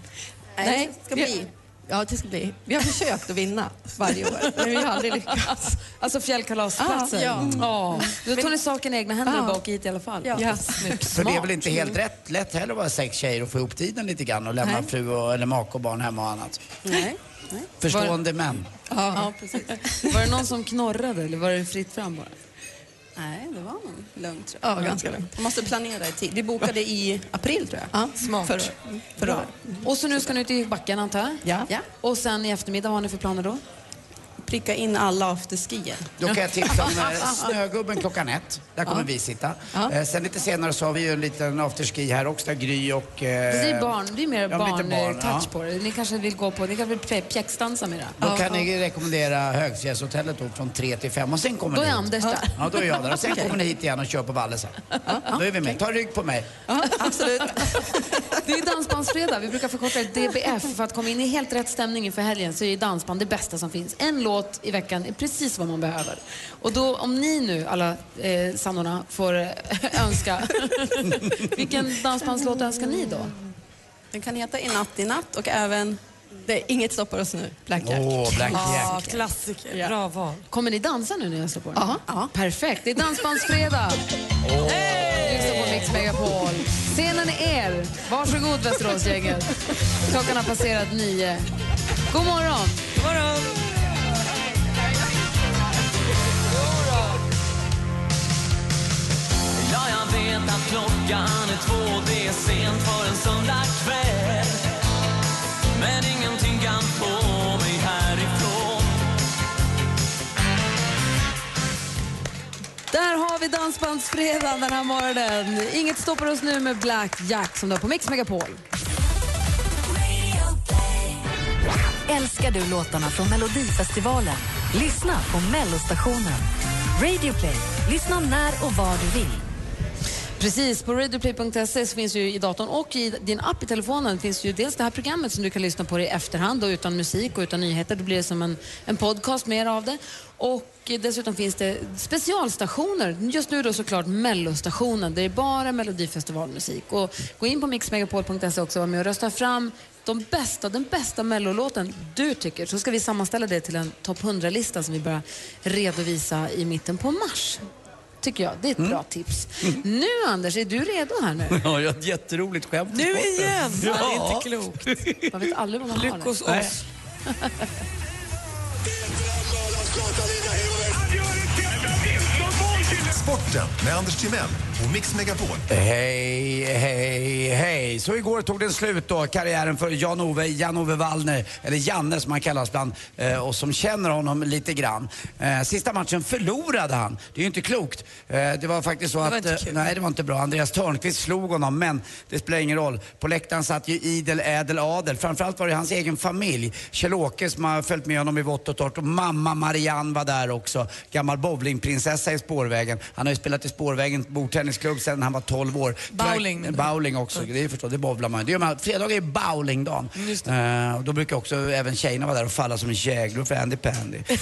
Nej, det ska bli. Ja, det ska bli. Vi har försökt att vinna varje år, men vi har aldrig lyckats.
Alltså fjällkalasplatsen.
Ah, ja.
Mm. Ja. Då tar ni saken i egna händer och bara åker hit i alla fall.
Ja.
För det är väl inte helt rätt lätt heller att vara sex tjejer och få ihop tiden lite grann och lämna
Nej.
fru och, eller make och barn hemma och annat.
Nej. Nej.
Förstående män.
Ja. precis. Var det någon som knorrade eller var det fritt fram bara?
Nej, det var nog lugnt tror
Ja,
jag.
ganska lugnt.
Man måste planera i tid. Vi bokade i april tror jag.
smart.
För, för
Bra. Och så nu ska ni ut i backen antar jag?
Ja. ja.
Och sen i eftermiddag, vad har ni för planer
Eh,
då?
Pricka in alla afterskier.
Då kan jag tipsa
(laughs)
om eh, Snögubben klockan ett. Där kommer vi sitta.
Ja.
Eh, sen lite senare så har vi ju en liten afterski här också där Gry och... Eh,
Det är barn, det är mer
ja, lite
barn-touch
barn, ja.
på det. Ni kanske vill gå på, ni kanske vill pjä- pjäxdansa med det?
Då kan ni rekommendera Högfjällshotellet då från 3 till 5 och sen kommer
Då
ni
är
hit.
Anders där.
Ja, då är jag där. Och
(laughs)
sen
Okej.
kommer ni hit igen och kör på Valle sen. Då är vi med. Ta rygg på mig.
absolut.
Det är Dansbandsfredag. Vi brukar förkorta det DBF. För att komma in i helt rätt stämning inför helgen så är ju dansband det bästa som finns. En låt i veckan är precis vad man behöver. Och då, om ni nu, alla eh, sannorna, får eh, önska... (laughs) Vilken dansbandslåt önskar ni då?
Den kan heta I natt i natt och även det är Inget stoppar oss nu, Black Jack.
Åh, Black Jack.
Ja,
klassiker.
Bra val.
Kommer ni dansa nu när jag slår på den? Ja. Perfekt. Det är Dansbandsfredag. Lyssna på Mix Megapol. Scenen är er. Varsågod, Västeråsgänget. Klockan har passerat nio. God morgon!
God morgon!
Ja, jag vet att klockan är två, det är sent för en söndagkväll. Men ingenting kan få mig härifrån.
vi Dansbandsfredag den här morgonen. Inget stoppar oss nu med Black Jack som du har på Mix Megapol.
Älskar du låtarna från Melodifestivalen? Lyssna på Mellostationen. Radio Play. Lyssna när och var du vill.
Precis, på radioplay.se så finns ju i datorn och i din app i telefonen finns ju dels det här programmet som du kan lyssna på i efterhand och utan musik och utan nyheter. Då blir det som en, en podcast mer av det. Och dessutom finns det specialstationer. Just nu då såklart Mellostationen där det är bara Melodifestivalmusik. Och gå in på mixmegapol.se också och var med och rösta fram de bästa, den bästa mellolåten du tycker. Så ska vi sammanställa det till en topp 100-lista som vi börjar redovisa i mitten på mars. Tycker jag. Det är ett bra tips. Nu Anders, är du redo här nu? (laughs)
Ja, jag har ett jätteroligt skämt.
Nu igen!
Ja.
Det är inte klokt. Man vet aldrig vad man har.
Lyckos oss. Nej.
Sporten med Anders Timell och Mix Megapol.
Hej, hej, hej. Så igår tog den slut då, karriären för Jan-Ove, Jan-Ove Wallner, eller Janne som han kallas bland eh, oss som känner honom lite grann. Eh, sista matchen förlorade han. Det är ju inte klokt. Eh, det var faktiskt så att... eh, Nej, det var inte bra. Andreas Törnqvist slog honom, men det spelar ingen roll. På läktaren satt ju idel ädel adel. Framförallt var det hans egen familj. Kjell-Åke som har följt med honom i vått och torrt och mamma Marianne var där också. Gammal bowlingprinsessa i spårvägen. Han har ju spelat i spårvägen, bordtennisklubb, sedan han var 12 år.
Bowling, menar
Tyvärr, bowling också, det är förstås, det bowlar man. Det gör man. Fredagar är bowlingdagen. Eh, och då brukar också även tjejerna vara där och falla som en käglor för
(laughs)
Andy Pandy. Eh,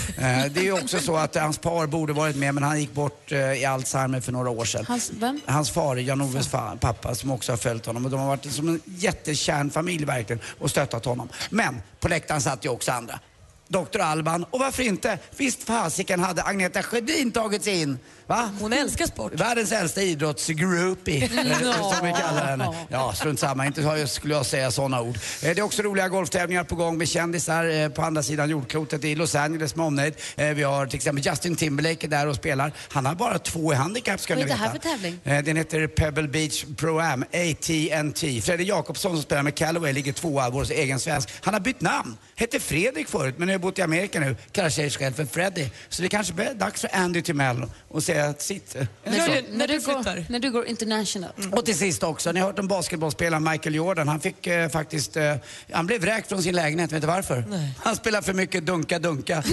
det är ju också så att hans par borde varit med men han gick bort eh, i Alzheimer för några år sedan.
Hans, vem?
Hans far, Jan-Oves fa- pappa, som också har följt honom. Och de har varit som en jättekärnfamilj verkligen och stöttat honom. Men på läktaren satt ju också andra. Dr. Alban och varför inte? Visst fasiken hade Agneta Sjödin tagits in. Va? Hon älskar sport. Världens
(laughs)
äldsta idrottsgroupie,
Ja.
som vi kallar henne. Ja, strunt samma. Inte har jag- skulle jag säga sådana ord. Eh, Det är också roliga golftävlingar på gång med kändisar eh, på andra sidan jordklotet i Los Angeles med omnejd. Eh, Vi har till exempel Justin Timberlake där och spelar. Han har bara två i handikapp ska
Vad
ni
är det
veta.
här för tävling?
Eh, Den heter Pebble Beach Pro Am, AT&T. Fredrik Jakobsson som spelar med Callaway ligger tvåa, vår egen svensk. Han har bytt namn. Hette Fredrik förut, men nu har bott i Amerika nu. Kallar sig själv för Freddy. Så det kanske är dags för Andy Timell att säga sitt. eh,
När du, när, du går, när du går international.
Och till sist också, ni har hört om basketbollspelaren Michael Jordan. Han fick eh, faktiskt, eh, han blev vräkt från sin lägenhet, vet du varför? Han spelar för mycket dunka-dunka.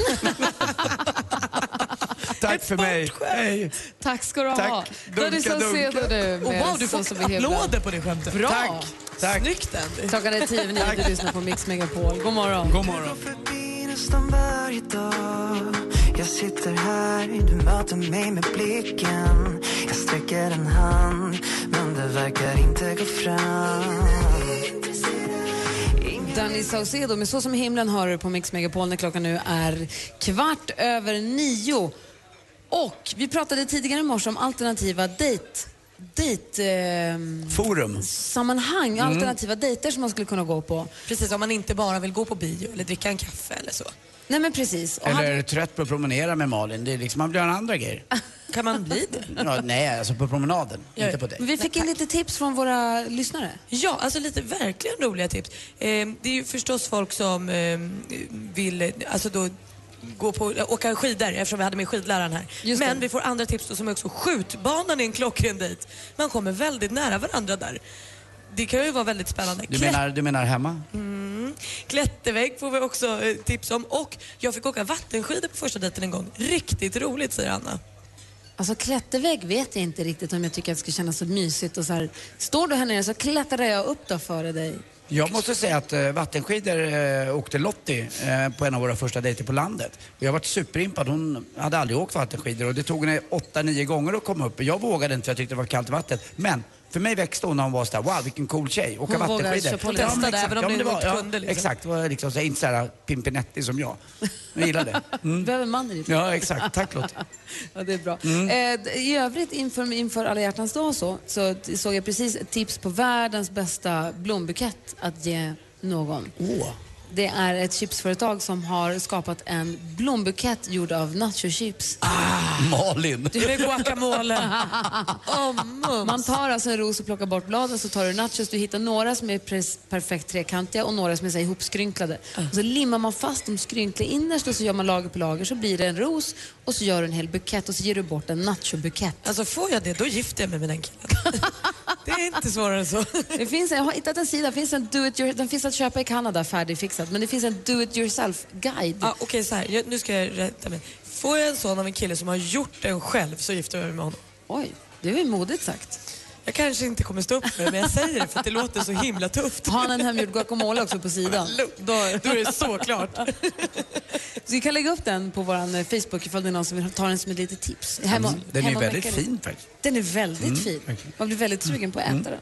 Tack för mig. Hej.
Tack ska du ha.
Tack.
Dodison
Dunka, dunka.
Sedo du med
Oh, wow, du
Så
får
som vi himlar.
applåder på det skämtet.
Bra!
Tack,
Tack.
Snyggt Andy.
Klockan är tio över nio, du lyssnar på Mix Megapol. God morgon.
God morgon.
nästan varje dag Jag sitter här, du möter mig med blicken Jag sträcker en hand, men det verkar inte gå fram
Danny Saucedo med Så som i himlen hör du på Mix Megapol när klockan nu är kvart över nio. Och vi pratade tidigare i morse om alternativa dejt... dejt ehm,
Forum.
sammanhang,
Mm.
alternativa dejter som man skulle kunna gå på.
Precis, om man inte bara vill gå på bio eller dricka en kaffe eller så.
Nej men precis. Och
Eller
han-
är du trött på att promenera med Malin? Det är liksom, man vill göra andra
(laughs)
grejer.
Kan man bli det?
Ja, nej, alltså på promenaden. Inte på dig.
Vi fick in lite tips från våra lyssnare.
(laughs) Ja, alltså lite verkligen roliga tips. Eh, det är ju förstås folk som eh, vill eh, alltså då, gå på, åka skidor eftersom vi hade med skidläraren här. Men vi får andra tips då, som är också skjutbanan är en klockren dejt. Man kommer väldigt nära varandra där. Det kan ju vara väldigt spännande.
Du menar, du menar hemma?
Mm. Klättervägg får vi också eh, tips om. Och jag fick åka vattenskidor på första dejten en gång. Riktigt roligt säger Anna.
Alltså klättervägg vet jag inte riktigt om jag tycker att det skulle kännas så mysigt och så här. Står du här nere så klättrar jag upp då före dig.
Jag måste säga att eh, vattenskidor eh, åkte Lottie eh, på en av våra första dejter på landet. Och jag varit superimpad. Hon hade aldrig åkt vattenskidor och det tog henne åtta, nio gånger att komma upp. Jag vågade inte för jag tyckte det var kallt i vattnet. Men för mig växte hon när hon var sådär, wow vilken cool tjej, åka
Hon vågade
vattenskidor.
köra på
Ja, men
testade,
exakt.
även om
Ja, men
det
var-
inte
ja,
kunde, liksom.
Exakt, det var liksom, så, inte såhär pimpinetti som jag. Jag gillar det.
(laughs)
Mm.
Behöver man i ditt liv?
Ja exakt, tack Lottie.
(laughs) Ja, det är bra. Eh, d- I övrigt inför, inför alla hjärtans dag så, så t- såg jag precis ett tips på världens bästa blombukett att ge någon.
Åh.
Det är ett chipsföretag som har skapat en blombukett gjord av nachochips.
Ah. Malin.
Det är
(laughs)
guacamole. Man tar alltså en ros och plockar bort bladen, så tar du nachos. Du hittar några som är pres- perfekt trekantiga och några som är så här, ihopskrynklade. Och så limmar man fast de skrynkliga innerst och så gör man lager på lager. Så blir det en ros och så gör du en hel bukett och så ger du bort en nachobukett.
Alltså får jag det, då gifter jag mig med den killen. (laughs) det är inte svårare än (laughs) så.
Det finns, jag har hittat en sida, det finns en do it your, den finns att köpa i Kanada färdigfixad, men det finns en do it yourself-guide.
Ah, Okej, så här. Jag, nu ska jag rätta mig. Får jag en son av en kille som har gjort den själv så gifter jag mig med honom.
Oj, det är väl modigt sagt.
Jag kanske inte kommer stå upp för det, men jag säger det för att det låter så himla tufft.
Har han en hemgjord guacamole också på sidan? Då,
Då är det så klart.
Så vi kan lägga upp den på vår Facebook ifall det är någon som vill ta den som ett litet tips. Hemma-
Mm. Den är ju
hemma och
väldigt
bäckar i.
fin faktiskt.
Den är väldigt
Mm,
fin.
verkligen.
Man blir väldigt sugen på att äta
Mm.
den.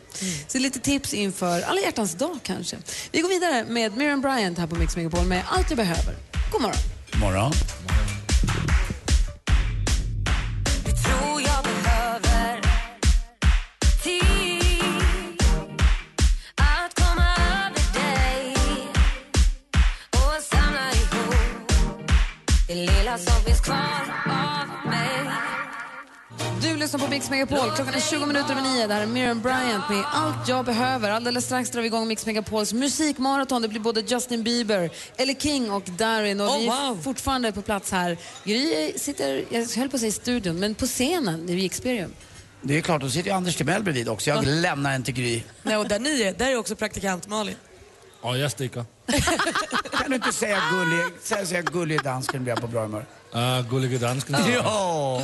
Så lite tips inför alla hjärtans dag kanske. Vi går vidare med Miriam Bryant här på Mix Megapol med Allt jag behöver. God morgon.
Morgon.
tror jag behöver tid att komma över dig och samla ihop det lilla som finns kvar av mig
Du lyssnar på Mix Megapol. Klockan är 20 minuter över nio. Det här är Miriam Bryant med Allt jag behöver. Alldeles strax drar vi igång Mix Megapols musikmaraton. Det blir både Justin Bieber, Ellie King och Darin. Och
Oh,
vi är
wow.
fortfarande på plats här. Gry sitter, jag höll på att säga i studion, men på scenen i Experium.
Det är klart, då sitter ju Anders Timell bredvid också. Jag lämnar en till Gry.
(laughs) Nej, och där ni är, där är också praktikant Malin.
Ja, jag sticker.
Kan du inte säga gullig, säga, säga gullig dansken blir jag på bra humör.
Ah,
Uh, gullige dansken.
Ja!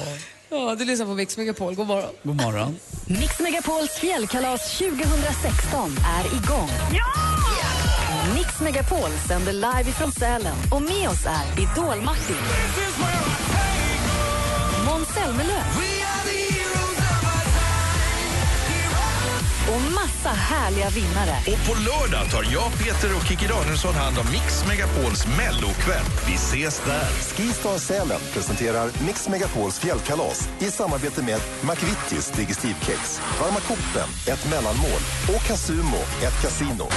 Ja, du lyssnar på Mix Megapol. God morgon.
God morgon.
Mix Megapols fjällkalas 2016 är igång. Mix Megapol sänder live ifrån Sälen och med oss är Idol-Martin. Måns Zelmerlöw. Och massa härliga vinnare.
Och på lördag tar jag, Peter och Kikki Danielsson hand om Mix Megapols mellokväll. Vi ses där!
Skistar Sälen presenterar Mix Megapols fjällkalas i samarbete med McVittys Digestivkex, Varma koppen, ett mellanmål och Casumo, ett kasino.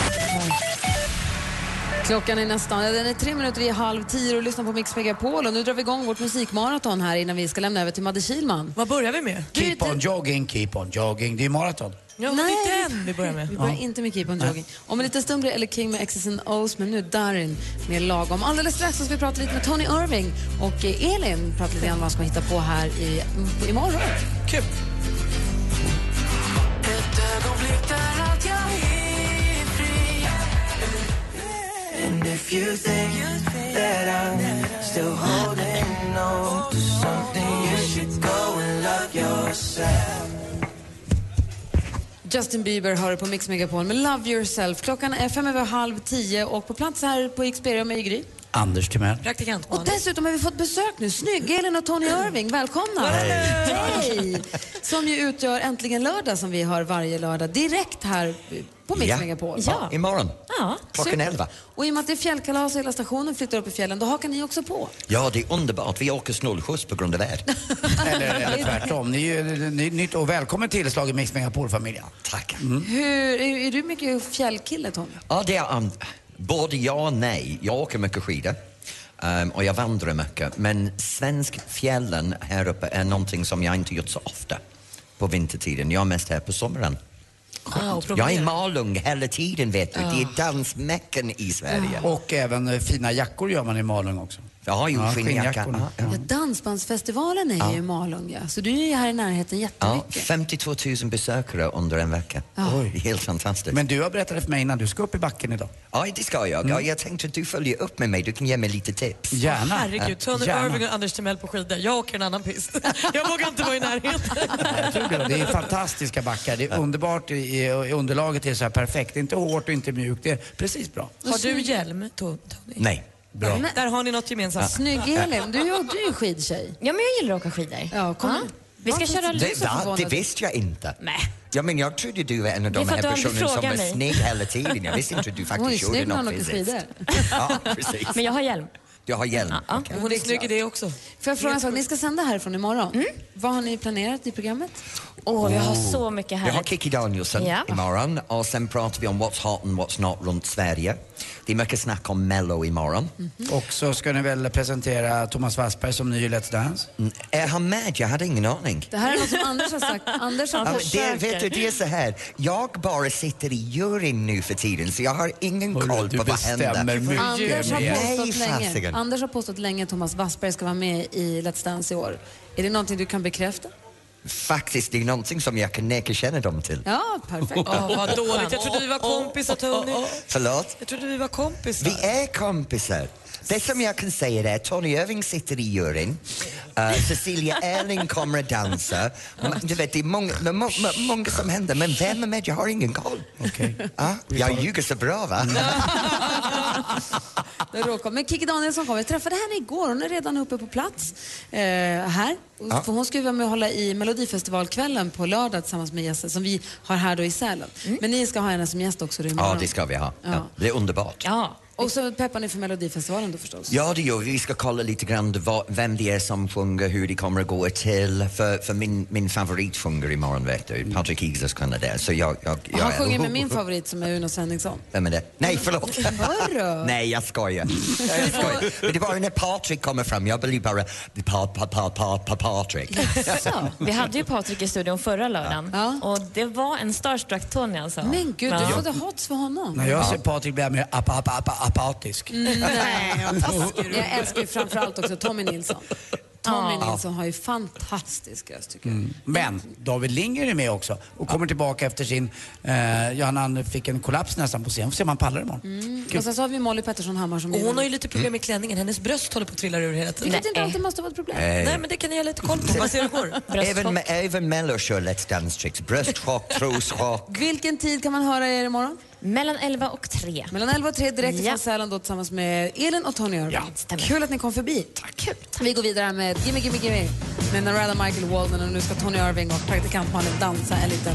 Klockan är nästan, ja, den är tre minuter i halv tio och lyssnar på Mix Megapol. Och nu drar vi igång vårt musikmaraton här innan vi ska lämna över till Madde Kilman.
Vad börjar vi med?
Keep on jogging, keep on jogging. Det är maraton.
Ja,
Nej.
det är den vi börjar med.
Vi börjar
Ja.
inte med Keep on jogging. Om en liten stund blir Eller King med X's and O's, men nu Darin med Lagom. Alldeles strax så ska vi prata lite med Tony Irving och eh, Elin pratar lite grann om vad han ska hitta på här i, mm, imorgon.
Kul!
Ett ögonblick där allt jag är fri And if you think that I'm still holding on to something You should go and love yourself
Justin Bieber hör på Mix Megapol med Love Yourself. Klockan är fem över halv tio och på plats här på Xperium är ju Gry.
Anders Timell.
Praktikant
Och dessutom har vi fått besök nu. Snygg-Elin och Tony Irving, välkomna! Hej! Som ju utgör Äntligen lördag som vi har varje lördag direkt här på Mix Megapol.
Ja. Imorgon.
Ja,
Klockan
super.
elva.
Och i och med att det är fjällkalas och hela stationen flyttar upp i fjällen, då hakar ni också på.
Ja, det är underbart. Vi åker snålskjuts på grund av väder.
Eller, eller tvärtom. Ni är ju ni, nytt och välkommen tillslag i Mix Megapol-familjen.
Tack.
Hur, är, är du mycket fjällkille, Tony?
Mm. Ja, det är um, både ja och nej. Jag åker mycket skidor um, och jag vandrar mycket. Men svensk fjällen här uppe är någonting som jag inte gjort så ofta på vintertiden. Jag är mest här på sommaren.
Ah, och
Jag är i
promenera.
Malung hela tiden, vet du. Det är dansmäcken i Sverige.
Och även eh, fina jackor gör man i Malung också.
Jag har ju
Ja,
skinnjacka.
skinnjackorna.
Ja,
Ja, Dansbandsfestivalen är ju i Malung, ja. så du är ju här i närheten
Ja,
jättemycket.
52 000 besökare under en vecka.
Ja.
Det är helt fantastiskt.
Men du har berättat för mig innan du ska upp i backen idag.
Ja, det ska jag.
Mm.
Ja, jag tänkte att du följer upp med mig. Du kan ge mig lite tips.
Gärna.
Herregud, Tony Irving och Anders Timell på skidor. Jag åker en annan pist. (laughs) Jag vågar inte vara i närheten.
Det är fantastiska backar. Det är underbart. i- i- i Underlaget är så här perfekt. Det är inte hårt och inte mjukt. Det är precis bra.
Har du hjälm, Tony?
Nej.
Bra.
Där har ni något gemensamt.
Snygg-Elin, du, är- du är skidtjej.
Ja, men jag gillar att åka skidor.
Ja, kom.
Ja. Vi ska köra
Det, va? det visste jag inte.
Nej.
Ja, men jag trodde du var en av
Det är
de
för att
här
du aldrig
personerna som
frågar
var
mig.
snygg hela tiden. Jag visste inte att du
Hon är
faktiskt
snygg
gjorde
när hon
något
åker
fysiskt.
skidor.
Ja, precis.
Men jag har hjälm.
Jag har hjälm. Okej.
Hon är snygg i det också.
Får jag fråga en sak? Ni ska sända härifrån imorgon.
Mm.
Vad har ni planerat i programmet?
Åh,
Oh. Vi har Kiki Danielsson
Ja.
imorgon och sen pratar vi om what's hot and what's not runt Sverige. Det är mycket snack om Mello imorgon.
Och så ska ni väl presentera Thomas Wassberg som ny i Let's Dance?
Är han med? Jag hade ingen aning.
Det här är något som Anders har
(laughs)
sagt. Anders
Ja,
har
men det, vet du, det
försöker.
är så här. Jag bara sitter i juryn nu för tiden så jag har ingen koll
du
på vad
bestämmer
händer.
mycket
Anders har,
Nej,
påstått länge,
fasiken.
Anders har påstått länge att Thomas Wassberg ska vara med i Let's Dance i år. Är det någonting du kan bekräfta?
Faktiskt, det är någonting som jag kan neka kännedom till.
Ja,
(laughs)
perfekt.
Åh,
(laughs)
vad dåligt. Jag trodde vi var kompisar, Tony.
Förlåt?
Jag trodde vi var kompisar.
Vi är kompisar. Det som jag kan säga är att Tony Irving sitter i juryn. Eh, Cecilia Erling kommer att dansa. Men Du vet, det är många, det är må, må, många som händer, men vem är med? Jag har ingen koll. Ja, jag ljuger så bra, va?
Det råkar. Men Kikki Danielsson kommer. Jag träffade henne igår. Hon är redan uppe på plats eh, här. Och-
Ja.
För hon ska ju vara med och hålla i Melodifestivalkvällen på lördag tillsammans med gäster som vi har här då i Sälen. Men ni ska ha henne som gäst också då imorgon.
Ja, det ska vi ha.
Ja.
Ja. Det är underbart.
Ja. Och så peppar ni för Melodifestivalen då förstås.
Ja, det gör vi. Vi ska kolla lite grann vad, vem det är som sjunger, hur det kommer att gå till. För, för min, min favorit sjunger imorgon, vet du. Patrik Isers kan det där. Så jag, jag,
Mm. Och
jag
han sjunger med min favorit som är Uno Svenningsson.
Vem är det? Nej, förlåt!
(laughs) Hörru!
Nej, jag skojar. Jag skojar. Men det var ju när Patrik kommer fram, jag blir bara Pat, Pat, Pat, Pat, Pat, Patrik.
Så, vi hade ju Patrik i studion förra lördagen och det var en starstruck Tony alltså.
Men gud,
Ja.
du får det hots för honom.
När jag ser Patrik blir jag mer apa, apa, apa, apatisk.
Nej, vad taskig du är. Jag älskar ju framförallt också Tommy Nilsson. Tommy
Ja.
Nilsson har ju fantastisk röst tycker jag.
Mm. Men David Lindgren är med också och kommer tillbaka efter sin... Eh, ja, han fick en kollaps nästan på scen. Får se om han pallar imorgon.
Mm.
Kul.
Och sen så har vi Molly Pettersson Hammar som
Och hon har ju lite problem med klänningen. Hennes bröst håller på att trilla ur hela tiden.
Vilket inte alltid måste vara ett problem.
Nej.
Nej, men det kan ni ha lite koll på. Vad ser du går?
Även, med- även Mello kör Let's Dance-tricks. Bröstchock, troschock.
Vilken tid kan man höra er imorgon?
Mellan 11 och 3.
Mellan 11 och 3 direkt
Ja.
från Sälen då tillsammans med Elin och Tony Irving. Kul att ni kom förbi. Tack. Kul. Vi går vidare här med Gimme Gimme Gimme med Narada Michael Walden och nu ska Tony Irving och praktikant Malin dansa en liten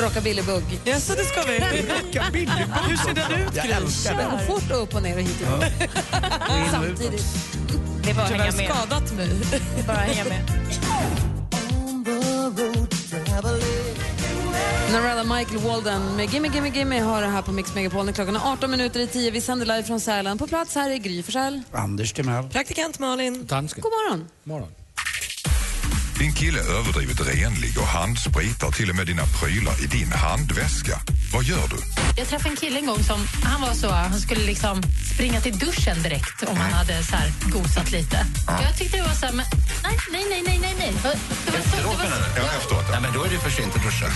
rockabillybugg.
Jaså, det ska vi?
Rockabillybugg?
Hur ser den ut,
Jag
Gry?
älskar den.
Kör fort och upp och ner och hit och dit. Samtidigt.
Det är bara att
Tyvärr
hänga med.
skadat mig.
Det är bara att hänga med.
Narada Michael Walden med Gimme Gimme Gimme hör det här på Mix Megapol när klockan är 18 minuter i 10. Vi sänder live från Sälen. På plats här är Gry Forssell.
Anders Timell.
Praktikant Malin.
Dansken.
God morgon.
morgon.
Din kille är överdrivet renlig och handspritar till och med dina prylar i din handväska. Vad gör du?
Jag träffade en kille en gång som han var så, han skulle liksom springa till duschen direkt om han hade så här gosat lite. Jag tyckte det var så här, men nej, nej, nej, nej, nej, nej. Det var- Det var så, det var så.
Ja, efteråt. Nej, men då är det för sent att duscha.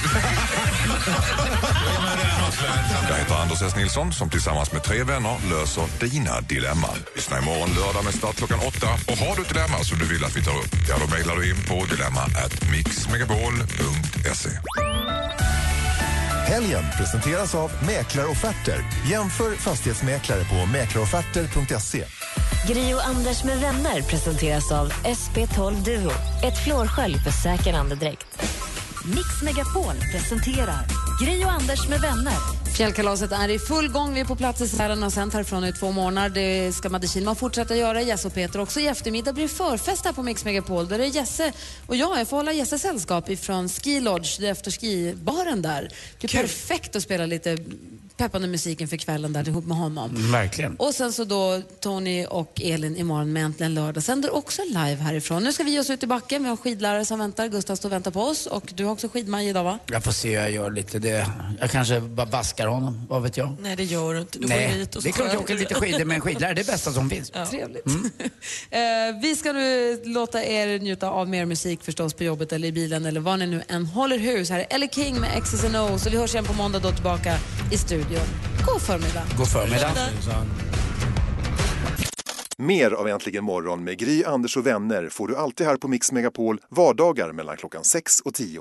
Jag heter Anders S. Nilsson som tillsammans med tre vänner löser dina dilemman. Lyssna imorgon lördag med start klockan åtta. Och har du ett dilemma som du vill att vi tar upp, ja då mejlar du in på dilemma at mixmegapol.se.
Helgen presenteras av Mäklarofferter. Jämför fastighetsmäklare på mäklarofferter.se.
Gri och Anders med vänner presenteras av SP12 Duo. Ett flårskölj för säker andedräkt.
Mix Megapol presenterar Gri och Anders med vänner.
Fjällkalaset är i full gång. Vi är på plats i Sälen och sänt härifrån i två månader. Det ska Madde Kihlman fortsätta göra, Jesse och Peter också. I eftermiddag blir det förfest här på Mix Megapol. Där är Jesse och jag. Jag får hålla Jesse sällskap ifrån Ski Lodge, det är efter skibaren där. Det är perfekt att spela lite peppande musiken för kvällen där ihop med honom.
Mm. Verkligen.
Och sen så då Tony och Elin imorgon med Äntligen lördag. Sänder också live härifrån. Nu ska vi ge oss ut i backen. Vi har skidlärare som väntar. Gustav står och väntar på oss. Och du har också skidmaj idag va?
Jag får se hur jag gör lite. Det, jag kanske bara vaskar honom, vad vet jag?
Nej, det gör du inte. Du går
Nej,
hit och så
det är klart jag åker lite skidor med en skidlärare. Det är det bästa som finns.
Trevligt. (laughs) Eh, vi ska nu låta er njuta av mer musik förstås på jobbet eller i bilen eller var ni nu än håller hus. Här är Ellie King med X's and O's och vi hörs igen på måndag då tillbaka i studion. God förmiddag.
God förmiddag.
Mer av Äntligen morgon med Gry, Anders och vänner får du alltid här på Mix Megapol vardagar mellan klockan 6 och 10.